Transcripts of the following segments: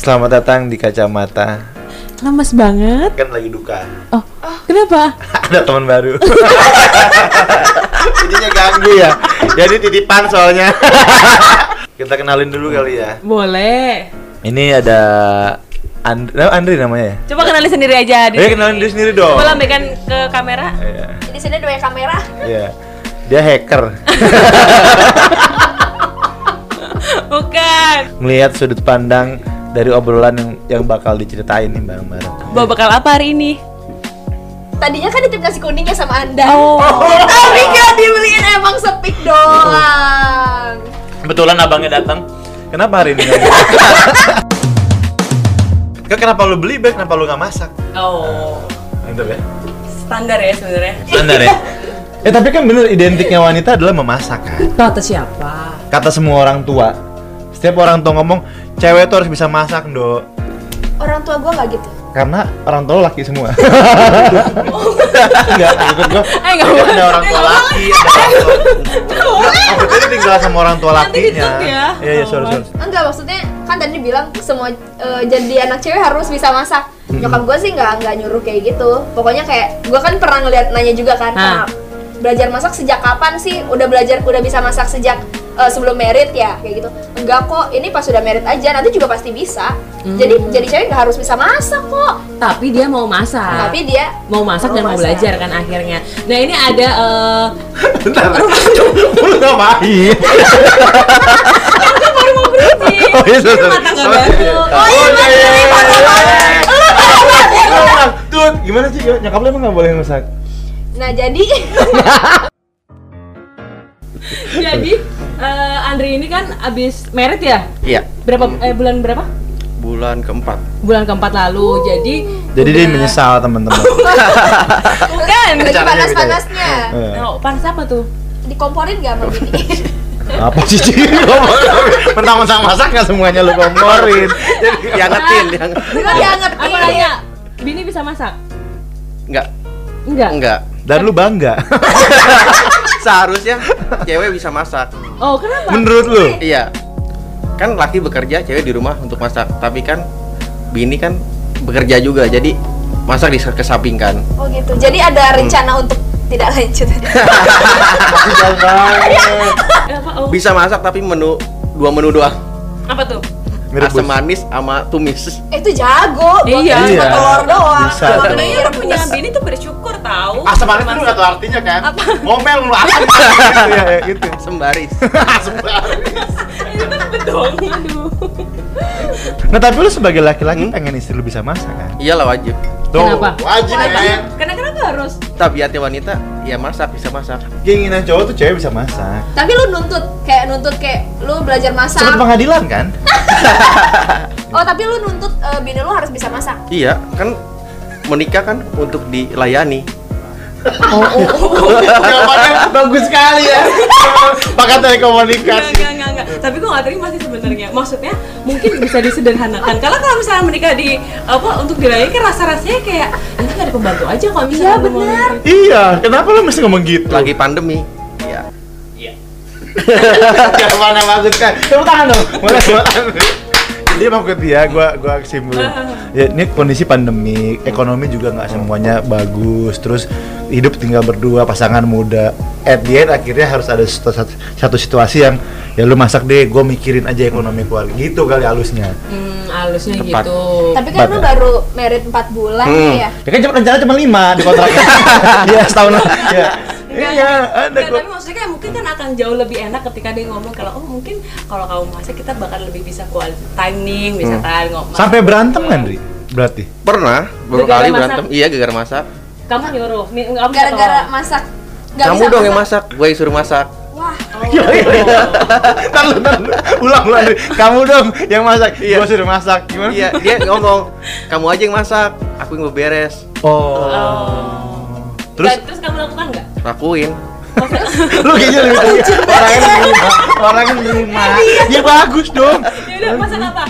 Selamat datang di kacamata. Lemes banget. Kan lagi duka. Oh, kenapa? Ada teman baru. Jadinya ganggu ya. Jadi titipan soalnya. Kita kenalin dulu kali ya. Boleh. Ini ada And- Andri namanya ya. Coba kenalin sendiri aja. Eh kenalin diri sendiri dong. Coba lambaikan ke kamera. Iya. Di sini ada banyak kamera. Iya. Dia hacker. Bukan. Melihat sudut pandang dari obrolan yang yang bakal diceritain nih bareng-bareng. Bawa bekal apa hari ini? Tadinya kan ditip nasi kuning ya sama Anda. Oh. Tapi gak dibeliin emang sepik doang. Kebetulan abangnya datang. Kenapa hari ini? nggak beli? Kak, kenapa lu beli bag? Kenapa lu nggak masak? Oh. Mantap ya. Standar ya sebenarnya. Standar ya. Eh tapi kan bener identiknya wanita adalah memasak kan. Kata siapa? Kata semua orang tua. Setiap orang tua ngomong cewek tuh harus bisa masak do. Orang tua gua nggak gitu. Karena orang tua laki semua. Enggak, maksud gua. Eh, nggak dia boleh. Ada orang tua laki, ada orang tua. Maksudnya dia tinggal sama orang tua Nanti lakinya. di-cut ya. Iya, iya, sorry, sorry. Enggak maksudnya kan tadi bilang semua eh, jadi anak cewek harus bisa masak. Nyokap gua sih nggak nggak nyuruh kayak gitu. Pokoknya kayak gua kan pernah ngeliat nanya juga kan. Ah. "Ah, belajar masak sejak kapan sih? Udah belajar udah bisa masak sejak eh, sebelum merit ya kayak gitu. Enggak kok, ini pas udah merit aja nanti juga pasti bisa. Jadi jadi cewek nggak harus bisa masak kok. Tapi dia mau masak. Tapi dia mau masak Mau dan mau masak. belajar kan akhirnya. Nah ini ada eh, Bentar. Lu ngapain? Ini Oh iya, sorry, sorry. rumah tangga Sorry. baru. Oh iya, bener, ini mata Lu bilang, Tut, gimana sih? Nyokap lu emang gak boleh masak? Nah jadi Jadi eh, Andri ini kan abis merit ya? Iya, Berapa Hmm. eh, bulan berapa? bulan keempat. Bulan keempat lalu. Jadi Jadi dia udah- menyesal teman-teman. Bukan. lagi Caranya panas-panasnya Eh, Oh, panas apa tuh? dikomporin gak sama bini? Apa sih Ci? Ngomong- Mentang-mentang masak nggak semuanya lu komporin. Diangetin, diangetin. Lu Aku diangetin nanya, Bini bisa masak? Enggak, Enggak. enggak. Dan lu bangga. Seharusnya cewek bisa masak. Oh, kenapa? Menurut lu? Iya. Kan laki bekerja, cewek di rumah untuk masak. Tapi kan bini kan bekerja juga, jadi masak kan. disampingkan. Oh gitu, jadi ada rencana untuk tidak lanjut Sial banget. Eh, apa? Oh, Bisa masak tapi menu dua menu doang. apa tuh? Merebus. Asam manis sama tumis. Eh itu jago, gua Iya. kira cuma Iya. telur doang Bisa. Ah, Tapi Sama mie Kayaknya rebus. punya bini tuh bersyukur tahu. Asam manis itu udah tahu artinya kan? Apa? Ngomel lu asam manis gitu ya, ya, gitu. Sembaris. Asam manis. Itu kan bedong. Aduh. Nah, tapi lu sebagai laki-laki pengen istri lu bisa masak kan? Iyalah wajib. Kenapa? Wajib kan? men. Karena kenapa harus? Tabiatnya wanita, ya masak, bisa masak. Keinginan cowok tuh cewek bisa masak. Tapi lu nuntut, kayak nuntut kayak lu belajar masak Seperti pengadilan kan? Oh tapi lu nuntut eh, bini lu harus bisa masak Iya, kan menikah kan untuk dilayani. Jawabannya bagus sekali ya. Pakai telekomunikasi. Enggak, enggak, enggak. Tapi gue gak terima sih sebenarnya. Maksudnya mungkin bisa disederhanakan. Kalau kalau misalnya menikah di apa untuk dilayani kan rasa-rasanya kayak nanti gak ada pembantu aja kalau misalnya gitu." lu Iya, mau benar. nikah." Iya, kenapa lu mesti ngomong gitu? Lagi pandemi. Iya. Jawabannya bagus kan? Tepuk tangan dong. Boleh tepuk tangan. Jadi maksud dia, gua gua kesimpulan. Ya ini kondisi pandemi, ekonomi juga nggak semuanya bagus. Terus hidup tinggal berdua, pasangan muda. At the end akhirnya harus ada situ- satu, satu situasi yang ya lu masak deh, gua mikirin aja ekonomi keluarga. Gitu kali halusnya. Hmm, halusnya Tepat. gitu. Tapi kan Empat lu ya? baru merit 4 bulan Hmm. ya Ya kan cuma rencana cuma lima di kontraknya. Iya setahun lagi. Iya. Iya, ada Enggak, kok. tapi maksudnya kayak mungkin kan akan jauh lebih enak ketika dia ngomong kalau oh mungkin kalau kamu masak kita bakal lebih bisa quality time nih, bisa kan ngomong. Hmm. Sampai berantem kan, Dri? Berarti. Pernah beberapa Gara-gara kali masak? berantem. Iya, gara-gara masak. kamu nyuruh, nih, kamu Gara-gara masak Nggak Kamu bisa dong yang masak, gue yang suruh masak. Wah Iya, iya, iya. Ntar lu, ntar lu. Ulang, ulang. Dri. Kamu dong yang masak. Gua sudah masak. Gimana? Iya, dia ngomong, kamu aja yang masak, aku yang beberes. Oh. Terus, Terus terus kamu lakukan nggak? Lakuin. lu kayaknya lebih tinggi. Orang yang nerima, orang yang nerima. Ya bagus dong. Ya udah masak apa?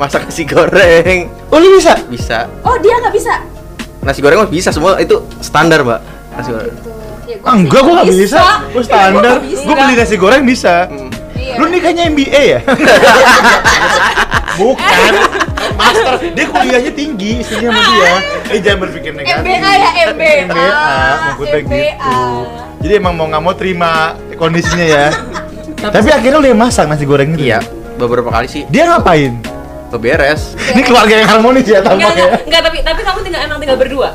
Masak nasi goreng. Oh, lu bisa? Bisa. Oh dia nggak bisa Nasi goreng mah bisa semua itu standar, Mbak. Nasi goreng. Gitu. Ya, Ah, enggak, gua nggak bisa. Iya, Gua standar. Gua nggak bisa. Gua beli nasi goreng bisa. Hmm. Iya. Lu nih kayaknya MBA ya? Bukan. master dia kuliahnya tinggi istrinya sama dia eh jangan berpikir negatif MBA ya, MBA. MBA maksudnya gitu jadi emang mau nggak mau terima kondisinya ya Tapi- tapi akhirnya lu yang masak nasi goreng itu Iya, beberapa kali sih dia ngapain beberes, ini keluarga yang harmonis ya Enggak, enggak, tampaknya enggak, tapi tapi kamu tinggal emang tinggal berdua.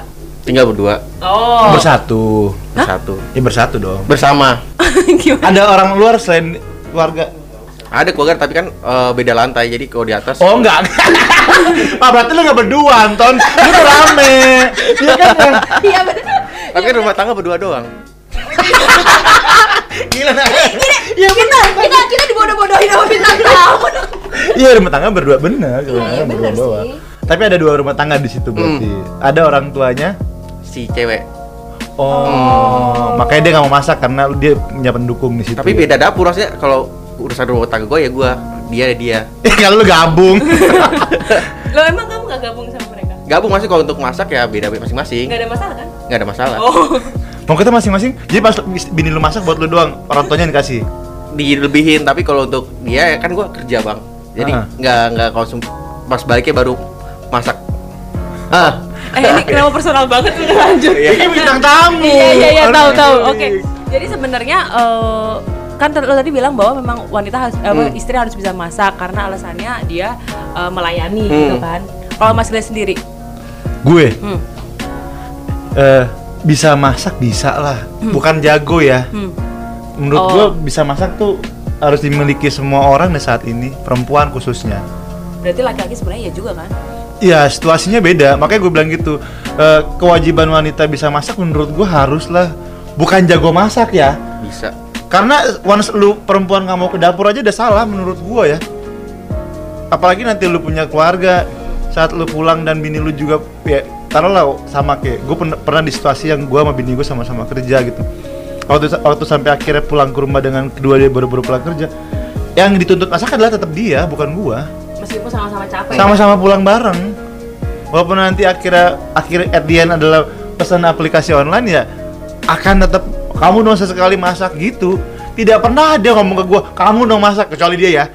tinggal berdua, Oh. bersatu bersatu, ya bersatu dong bersama. Gimana? ada orang luar selain keluarga Ada keluarga tapi kan eh, beda lantai, jadi kalau di atas Oh enggak. Pak Ah, berarti lu enggak berdua, Anton. Lu tuh rame. Iya kan? yang- Iya bener. Tapi kan rumah tangga berdua doang. Gila nah. Iya bener. Kita kita dibodoh-bodohin sama bintang tamu. dong. Iya rumah tangga berdua bener, rumah iya, tangga berdua bener doang. sih. Tapi ada dua rumah tangga di Hmm. situ berarti. Ada orang tuanya. Si cewek. Oh, makanya dia nggak mau masak karena dia punya pendukung di situ. Tapi beda dapur maksudnya kalau urusan rumah tangga gue ya gue, dia dia. Eh, kalau lu gabung. Lo emang kamu gak gabung sama mereka? Gabung masih kalau untuk masak ya beda masing-masing, Gak ada masalah kan? nggak ada masalah. Oh. mau kita masing-masing. Jadi pas bini lu masak buat lu doang, orang tuanya yang dikasih. Dilebihin tapi kalau untuk dia ya kan gue kerja bang, jadi Ah. nggak nggak konsum pas baliknya baru masak. Ah, Eh ini kenapa personal banget udah lanjut. Iya. Ini bintang tamu. Iya iya iya tahu Aduh. tahu. Oke. Jadi sebenarnya eh, kan ter- lo tadi bilang bahwa memang wanita harus apa, istri harus bisa masak karena alasannya dia eh, melayani gitu kan. Kalau Mas Glenn sendiri, Gue hmm, eh bisa masak bisa lah, bukan jago ya. hmm. menurut Oh. gua bisa masak tuh harus dimiliki semua orang deh saat ini perempuan khususnya berarti laki-laki sebenarnya ya juga kan? Iya situasinya beda makanya gue bilang gitu eh, kewajiban wanita bisa masak menurut gua haruslah bukan jago masak ya bisa. karena once lu perempuan nggak mau ke dapur aja udah salah menurut gua ya apalagi nanti lu punya keluarga saat lu pulang dan bini lu juga ya taruhlah sama kayak gue pernah di situasi yang gua sama bini gue sama-sama kerja gitu waktu waktu sampai akhirnya pulang ke rumah dengan kedua dia baru-baru pulang kerja yang dituntut masak adalah tetap dia bukan gua Meskipun sama-sama capek. sama-sama pulang bareng walaupun nanti akhirnya akhir at the end adalah pesan aplikasi online ya akan tetap kamu dong sesekali masak gitu tidak pernah dia ngomong ke gua kamu dong masak kecuali dia ya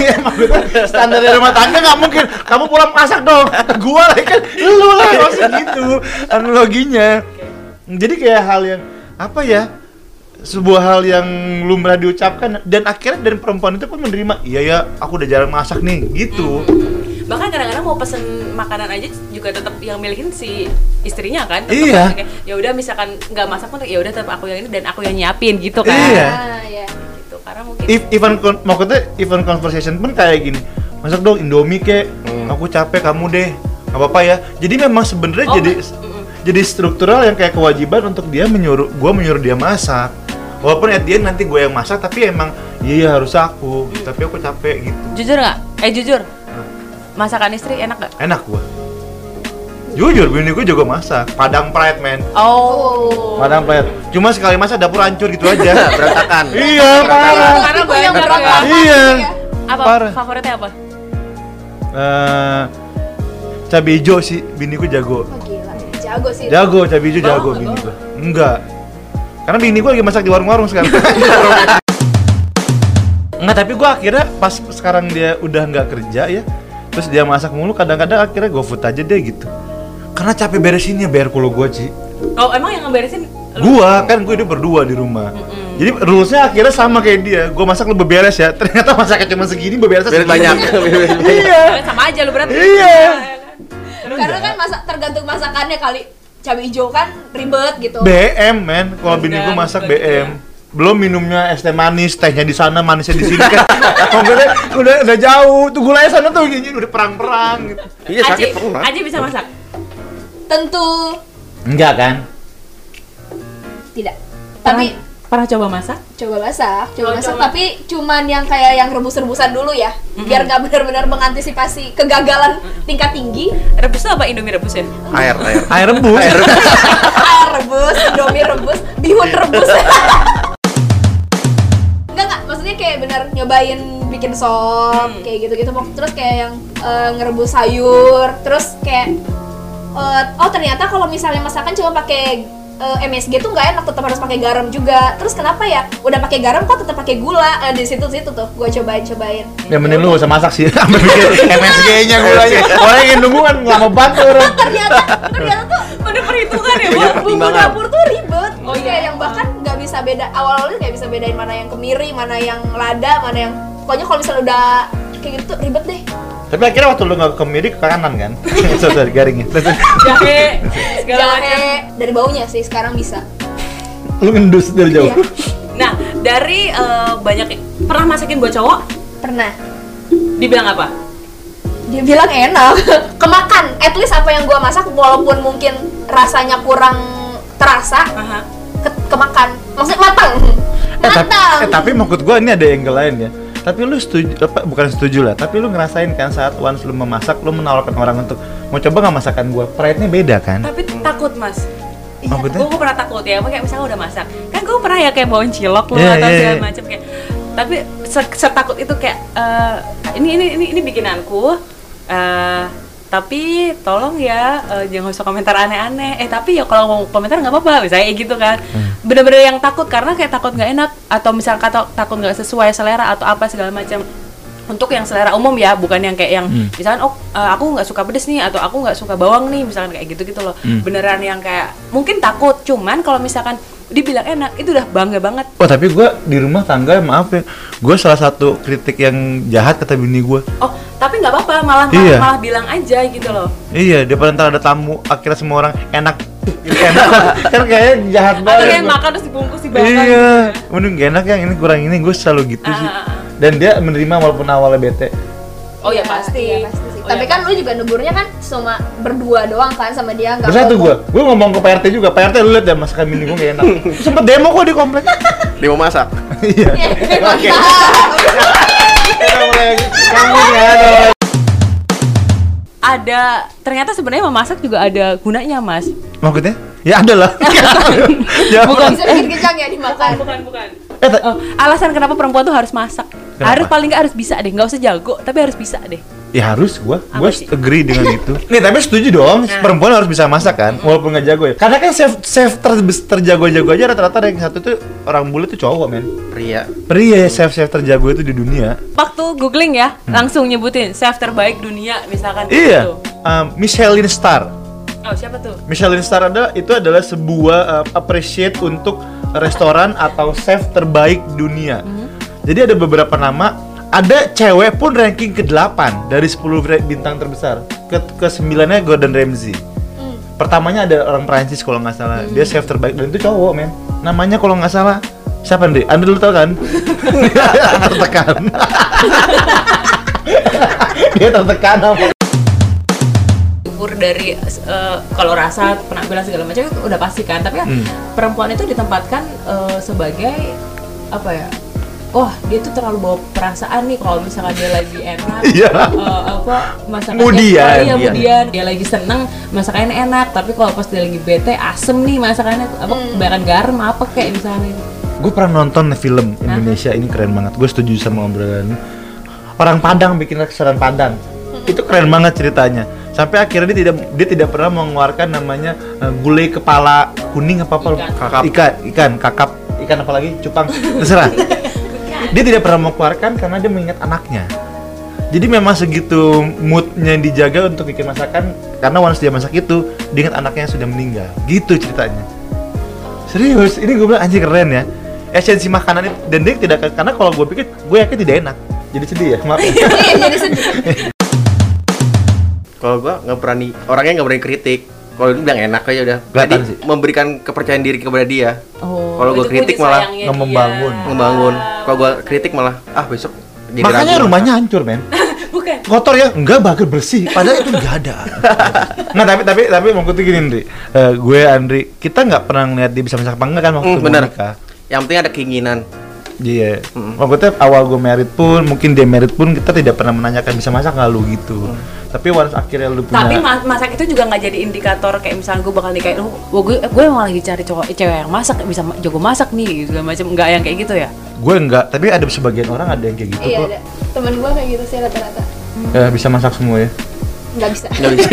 Maksudnya, standar dari rumah tangga nggak mungkin kamu pulang masak dong Ke gua lah kan lu lah maksud gitu analoginya jadi kayak hal yang apa ya sebuah hal yang lumrah diucapkan dan akhirnya dari perempuan itu pun menerima iya ya aku udah jarang masak nih gitu Hmm. Bahkan kadang-kadang mau pesen makanan aja juga tetap yang milikin si istrinya kan. Tetep Iya. kan, kayak, Ya udah misalkan nggak masak pun ya udah tetap aku yang ini dan aku yang nyiapin gitu kan. Iya. Ah, iya. Gitu. Karena mungkin If, even kon- maksudnya even conversation pun kayak gini masak dong indomie kek Hmm. aku capek kamu deh nggak apa-apa ya jadi memang sebenarnya Oh, jadi mm, mm. jadi struktural yang kayak kewajiban untuk dia menyuruh gua menyuruh dia masak walaupun at the end nanti gue yang masak tapi emang iya harus aku tapi aku capek gitu jujur nggak? Eh jujur. Masakan istri enak nggak? enak gua jujur bini gue juga masak padang pride man Oh. padang pride cuma sekali masak dapur hancur gitu aja Nah, Berantakan. iya parah Karena Ibu banyak yang berat ya. banget, Iya. iya. Apa Parah. favoritnya apa? Eh, cabai hijau sih bini gue jago Oh, gila. Jago sih. Jago, cabai hijau Bawang jago nggak bini bawang? gua. Enggak. Karena bini gua lagi masak di warung-warung sekarang. Enggak, tapi gua akhirnya pas sekarang dia udah nggak kerja ya. Terus dia masak mulu kadang-kadang akhirnya gua food aja deh gitu. Karena capek beresinnya bayar kulo gua, Ci. Oh, emang yang ngeberesin lu? Gua kan gua hidup berdua di rumah. Jadi rulesnya akhirnya sama kayak dia. Gua masak lu beberes ya. Ternyata masaknya cuma segini beberesnya Beres segini. banyak. Beres banyak. Iya. sama aja lu berarti. Iya. Karena kan masak tergantung masakannya kali. Cabai hijau kan ribet gitu. Iya, BM men, kalau bini Rendang, gue masak gitu ya. BM. Belum minumnya es teh manis, tehnya di sana, manisnya di sini kan. Maksudnya udah udah jauh, tuh gulanya sana tuh gini udah perang-perang gitu. Iya Aji, sakit pernah. Aji bisa masak. Tentu Enggak kan? tidak. Pernah, Tapi pernah coba masak? coba masak, coba Oh, masak coba. tapi cuman yang kayak yang rebus-rebusan dulu ya. Biar nggak benar-benar mengantisipasi kegagalan tingkat tinggi. Rebus tuh apa Indomie rebusin? Air, air. Air rebus. air rebus, indomie rebus, bihun rebus. Enggak enggak, maksudnya kayak bener nyobain bikin sop Hmm. kayak gitu-gitu Mak- terus kayak yang eh, ngerebus sayur, terus kayak eh, oh ternyata kalau misalnya masakan cuma pakai eh, MSG tuh nggak enak tetap harus pakai garam juga terus kenapa ya udah pakai garam kok tetap pakai gula Eh, di situ situ tuh gue cobain cobain Ya mending lu gak usah masak sih Sampai bikin MSG-nya gulanya Orang yang nunggu kan lama banget tuh orang ternyata ternyata tuh Udah perhitungan ya, Bu? Banyak Iya, bumbu pertimbangan. dapur tuh ribet Oh oh iya. iya yang bahkan nggak bisa beda awal awalnya nggak bisa bedain mana yang kemiri mana yang lada mana yang pokoknya kalau misalnya udah kayak gitu tuh ribet deh Tapi akhirnya waktu lu gak ke kemiri ke kanan kan Sorry, sorry ya. garingnya Terus, Jahe, segala macam. jahe dari baunya sih sekarang bisa Lu ngendus dari jauh Iya. Nah, dari eh, banyak pernah masakin buat cowok, pernah dibilang apa? dia bilang enak kemakan at least apa yang gua masak walaupun mungkin rasanya kurang terasa Aha. ke- kemakan maksudnya matang Eh, tapi, matang eh, tapi maksud gua ini ada angle lain ya tapi lu setuju apa bukan setuju lah tapi lu ngerasain kan saat once lu memasak lu menawarkan orang untuk mau coba nggak masakan gua pride-nya beda kan Tapi iya, takut, Mas. maksudnya Gue pernah takut ya, apa kayak misalnya udah masak Kan gue pernah ya kayak bawain cilok loh Iya, atau iya, segala iya. macam kayak Tapi se- setakut itu kayak eh, ini, ini ini ini bikinanku eh, Tapi tolong ya eh, jangan usah komentar aneh-aneh Eh tapi ya kalau mau komentar nggak apa-apa misalnya kayak gitu kan Hmm. Bener-bener yang takut karena kayak takut nggak enak Atau misalnya kata- takut nggak sesuai selera atau apa segala macam untuk yang selera umum ya bukan yang kayak yang Hmm. misalkan oh eh, aku nggak suka pedes nih atau aku nggak suka bawang nih misalkan kayak gitu gitu loh Hmm. beneran yang kayak mungkin takut cuman kalau misalkan dibilang enak itu udah bangga banget oh tapi gua di rumah tangga maaf ya gua salah satu kritik yang jahat kata bini gua oh tapi nggak apa-apa malah malah- Iya. malah bilang aja gitu loh Iya, daripada ntar ada tamu, akhirnya semua orang enak. enak kan kayaknya jahat atau banget. kayak makan terus dibungkus dibakar gitu. iya, mending gak enak yang ini kurang ini, gue selalu gitu Ah, sih. ah, ah. Dan dia menerima walaupun awalnya bete. oh ya Iya, pasti, iya, pasti sih. Oh, tapi ya. kan lu juga negurnya kan cuma berdua doang kan sama dia nggak Bersatu ngomong. gue, gue ngomong ke Pak RT juga, Pak RT lu liat ya masakan mini gue gak enak. Sempet demo kok di komplek. dia mau masak Iya. Oke. Kita mulai kamu ya. dong. ada ternyata sebenarnya memasak juga ada gunanya mas Maksudnya? Ya ada lah. ya, Bukan. Bisa bikin kenyang ya dimakan. bukan bukan Eh, ta- oh, alasan kenapa perempuan tuh harus masak Kenapa? harus paling nggak harus bisa deh nggak usah jago tapi harus bisa deh Ya harus gua, Apa gua sih? agree dengan itu. Nih tapi setuju dong, perempuan harus bisa masak kan, walaupun nggak jago ya. Karena kan chef chef ter- terjago-jago aja rata-rata yang satu tuh orang bule tuh cowok men. pria Pria ya chef chef terjago itu di dunia. waktu googling ya langsung nyebutin chef terbaik dunia misalkan kayak gitu. Hmm. Iya, um, Michelin Star. oh siapa tuh Michelin Star ada itu adalah sebuah uh, appreciate untuk restoran atau chef terbaik dunia. Jadi ada beberapa nama, ada cewek pun ranking ke-8 dari 10 re- bintang terbesar. Ke ke sembilannya Gordon Ramsay. Pertamanya ada orang Prancis kalau nggak salah. Dia chef terbaik dan itu cowok, men. Namanya kalau nggak salah siapa Andre? Andre lu tau kan? Dia tertekan. Dia tertekan apa? ukur dari eh, kalau rasa penampilan segala macam itu udah pasti kan tapi ya, Hmm. perempuan itu ditempatkan eh, sebagai apa ya wah dia tuh terlalu bawa perasaan nih kalau misalkan dia lagi enak Iya. eh, apa masakannya Mudian, iya, iya. mudian. dia lagi seneng masakannya enak tapi kalau pas dia lagi bete asem nih masakannya apa kebanyakan garam apa kayak misalnya gue pernah nonton film Indonesia ini keren banget gue setuju sama obrolan ini. orang Padang bikin restoran Padang itu keren banget ceritanya sampai akhirnya dia tidak dia tidak pernah mengeluarkan namanya eh, gulai kepala kuning apa apa Ikan. kakap ikan ikan kakap ikan apa lagi cupang terserah dia tidak pernah mengeluarkan karena dia mengingat anaknya jadi memang segitu moodnya dijaga untuk bikin masakan karena once dia masak itu dia ingat anaknya yang sudah meninggal gitu ceritanya Serius, ini gue bilang anjir keren ya. Esensi makanan itu dan dia tidak karena kalau gue pikir gue yakin tidak enak. Jadi sedih ya, maaf. ya. Iya, jadi sedih. kalau gua nggak berani orangnya nggak berani kritik kalau dia bilang enak aja udah jadi Kelihatan sih. memberikan kepercayaan diri kepada dia oh Kalau gua itu kritik puji malah sayangnya nggak dia. membangun. membangun kalau gua kritik malah ah besok jadi Makanya ragu. rumahnya hancur, men. bukan Kotor ya? Enggak, bagus bersih. Padahal itu enggak ada. nah, tapi tapi tapi mau gue gini, Andri. Eh, gue Andri, kita nggak pernah ngeliat dia bisa masak apa enggak kan waktu Hmm, mau benar nikah. yang penting ada keinginan Iya. Mm. Maksudnya awal gue merit pun, mungkin dia merit pun kita tidak pernah menanyakan bisa masak nggak lu gitu. Mm. Tapi once akhirnya lu punya Tapi ma- masak itu juga nggak jadi indikator kayak misalnya gue bakal nikahin, oh, wah, gue gue emang lagi cari cowok eh, cewek yang masak bisa ma- jago masak nih gitu macam nggak yang kayak gitu ya. gue enggak, tapi ada sebagian orang ada yang kayak gitu Iya, kok. ada. Temen gua kayak gitu sih rata-rata. Eh, bisa masak semua ya. nggak bisa Nggak bisa.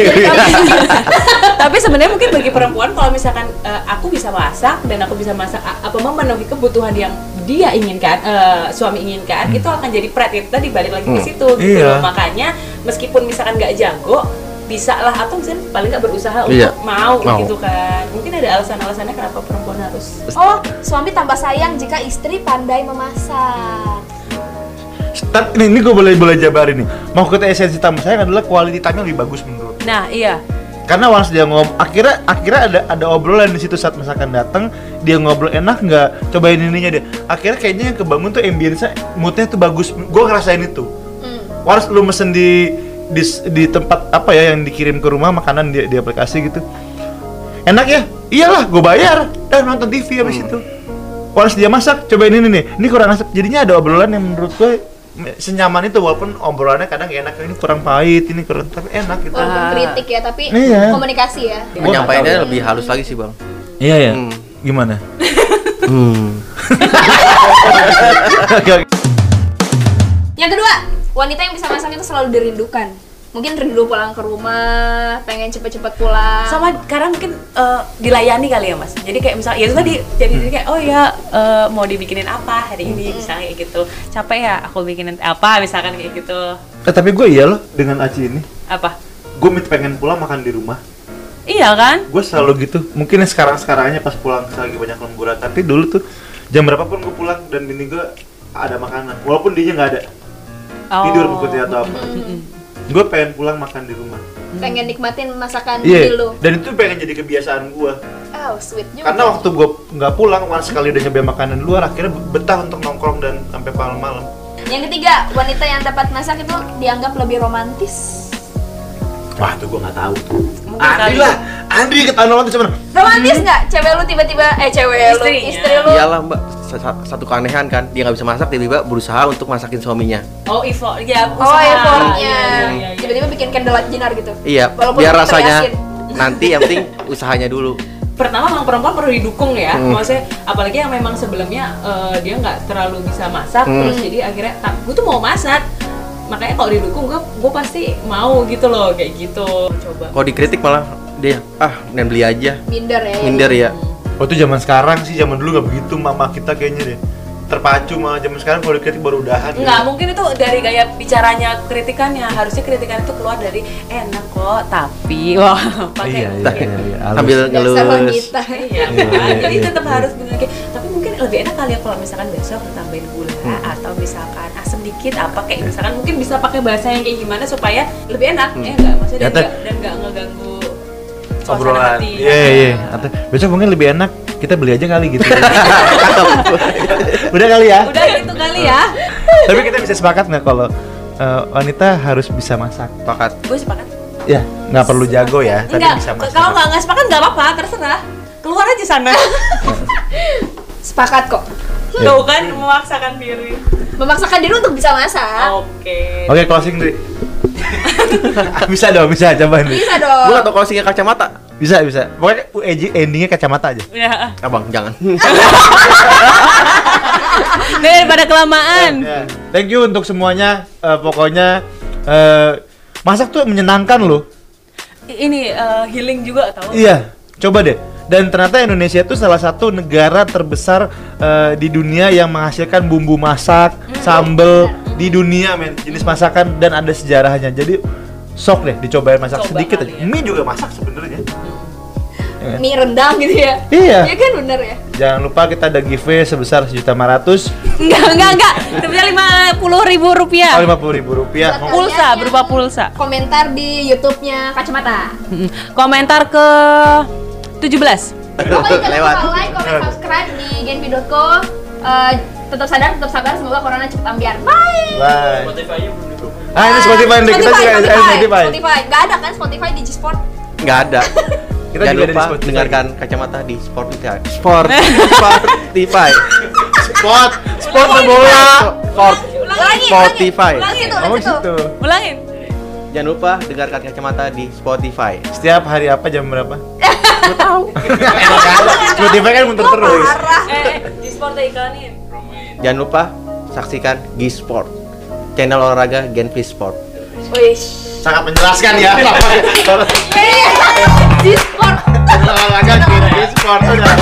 tapi sebenarnya mungkin bagi perempuan kalau misalkan eh, aku bisa masak dan aku bisa masak a- apa memenuhi kebutuhan yang dia inginkan eh, suami inginkan itu akan jadi pret itu tadi balik lagi ke Hmm. situ gitu Iya. loh. makanya meskipun misalkan nggak jago bisa lah atau misalnya paling nggak berusaha Iya. untuk mau, Mau. gitu kan mungkin ada alasan-alasannya kenapa perempuan harus oh suami tambah sayang jika istri pandai memasak Start, ini, ini gue boleh boleh jabarin nih. Mau kata esensi tamu saya adalah quality time lebih bagus menurut. nah iya Karena once dia ngom, akhirnya akhirnya ada ada obrolan di situ saat masakan datang, dia ngobrol enak nggak, cobain ininya deh. Akhirnya kayaknya yang kebangun tuh ambience moodnya tuh bagus. Gue ngerasain itu. Hmm. Harus lu mesen di, di di tempat apa ya yang dikirim ke rumah makanan di, di aplikasi gitu. Enak ya? Iyalah, gue bayar dan nonton TV habis itu. Once dia masak, cobain ini nih. Ini kurang asap. Jadinya ada obrolan yang menurut gue senyaman itu walaupun obrolannya kadang nggak enak ini kurang pahit ini kurang tapi enak gitu walaupun Ah. kritik ya tapi Iya. komunikasi ya Gua nggak tahu ya. Penyampaiannya lebih halus lagi sih bang. iya ya Hmm. gimana Hmm. yang kedua wanita yang bisa masak itu selalu dirindukan mungkin rindu pulang ke rumah pengen cepet-cepet pulang sama sekarang mungkin eh, dilayani kali ya mas jadi kayak misalnya ya itu tadi jadi Hmm. jadi kayak oh ya eh, mau dibikinin apa hari ini misalnya kayak gitu capek ya aku bikinin apa misalkan kayak gitu eh, tapi gue iya loh dengan Aci ini apa gue pengen pulang makan di rumah iya kan gue selalu gitu mungkin sekarang sekarangnya pas pulang lagi banyak lemburan tapi dulu tuh jam berapa pun gue pulang dan bini gue ada makanan walaupun dia nggak ada Oh. tidur pokoknya atau apa gue pengen pulang makan di rumah Hmm, pengen nikmatin masakan iya diri lu dan itu pengen jadi kebiasaan gue oh sweet Iya, juga karena waktu gue nggak pulang once sekali udah nyobain makanan di luar akhirnya betah untuk nongkrong dan sampai malam-malam yang ketiga wanita yang dapat masak itu dianggap lebih romantis wah tuh gue nggak tahu Mungkin Andi kali. ya. lah Andi ketahuan tuh sebenarnya Hmm. romantis nggak cewek lu tiba-tiba eh cewek lu Istrinya. istri Iya. lu Iyalah mbak, Sa- sa- satu keanehan kan dia nggak bisa masak tiba-tiba berusaha untuk masakin suaminya. oh effort ya Oh, usaha. effortnya. Iya, iya, iya, iya. Tiba-tiba bikin candlelight dinner gitu. Iya. Walaupun biar kita rasanya yakin. nanti yang penting usahanya dulu. pertama memang perempuan perlu didukung ya Hmm. maksudnya apalagi yang memang sebelumnya eh, dia nggak terlalu bisa masak Hmm. terus jadi akhirnya gue tuh mau masak makanya kalau didukung gue gue pasti mau gitu loh kayak gitu coba Kalau dikritik malah dia ah dan beli aja, minder ya. minder ya. Oh itu zaman sekarang sih, zaman dulu nggak begitu mama kita kayaknya deh terpacu malah zaman sekarang kalau dikritik baru udahan gitu. Nggak, mungkin itu dari gaya bicaranya kritikannya harusnya kritikan itu keluar dari "Eh, enak kok tapi wah pakai Iya, gitu. iya, Entah, iya, iya. halus. Sambil Dasar ngelus. wanita. Iya, kan? jadi tetap iya. harus bener kayak tapi mungkin lebih enak kali ya kalau misalkan besok lu tambahin gula Hmm. atau misalkan asam dikit apa kayak misalkan mungkin bisa pakai bahasa yang kayak gimana supaya lebih enak Hmm. ya enggak maksudnya dan Nyata. nggak- dan nggak ngeganggu suasana Obrolan. hati. Nah, Iya iya. Atau besok mungkin lebih enak kita beli aja kali gitu. Udah kali ya. udah gitu kali ya Tapi kita bisa sepakat nggak kalau eh, wanita harus bisa masak? Pakat. gue sepakat Ya nggak perlu jago ya, tapi Enggak, bisa masak. kalau nggak nggak sepakat nggak apa-apa terserah keluar aja sana Sepakat kok. Ya. Tuh kan memaksakan diri. Memaksakan diri untuk Oh. bisa masak. Oke. Oke closing Dri. bisa dong, bisa coba nih. Bisa Gue dong. atau kalau singgah kacamata, Bisa bisa. Pokoknya UEG endingnya kacamata aja. Ya. abang jangan. Daripada kelamaan. Ya. Thank you untuk semuanya. Eh, pokoknya eh, masak tuh menyenangkan loh. Ini eh, healing juga tau. Iya, coba deh. Dan ternyata Indonesia itu salah satu negara terbesar eh, di dunia yang menghasilkan bumbu masak, sambel di dunia men, jenis masakan dan ada sejarahnya. Jadi sok deh dicobain masak Coba sedikit kali aja. ya. Mie juga masak sebenarnya. Iya. Mie rendang gitu ya. Iya. Iya kan bener ya. Jangan lupa kita ada giveaway sebesar 1.500.000 Enggak, enggak, enggak. Sebesar lima puluh ribu atau rupiah. 50.000 rupiah. Buat Mau- Pulsa, berupa pulsa. Komentar di YouTube-nya kacamata. Mm-mm. Komentar ke 17 Pokoknya jangan Lewat. lupa like, comment, subscribe di genpi.co. Eh, tetap sadar, tetap sabar. Semoga corona cepat ambiar. Bye. Bye. Ah ini Spotify nih kita juga ada Spotify, di eh, Spotify. Spotify. Nggak ada kan Spotify di G-Sport? Nggak ada. Kita Jangan juga ada di lupa Spotify. dengarkan kacamata di Spotify. Sport, Spotify, Spot, spot bola. Sport. Ulangi, Spotify. Ulangi, ulangi Kamu gitu. itu, itu. situ. Ulangin. Jangan lupa dengarkan kacamata di Spotify. Setiap hari apa jam berapa? Gue tahu. Spotify kan muter terus. Parah. Eh, eh, di sport iklanin. Jangan lupa saksikan G Sport, channel olahraga Genpi Sport. Wish. sangat menjelaskan ya. Apa- Discord. Olahraga di Discord udah.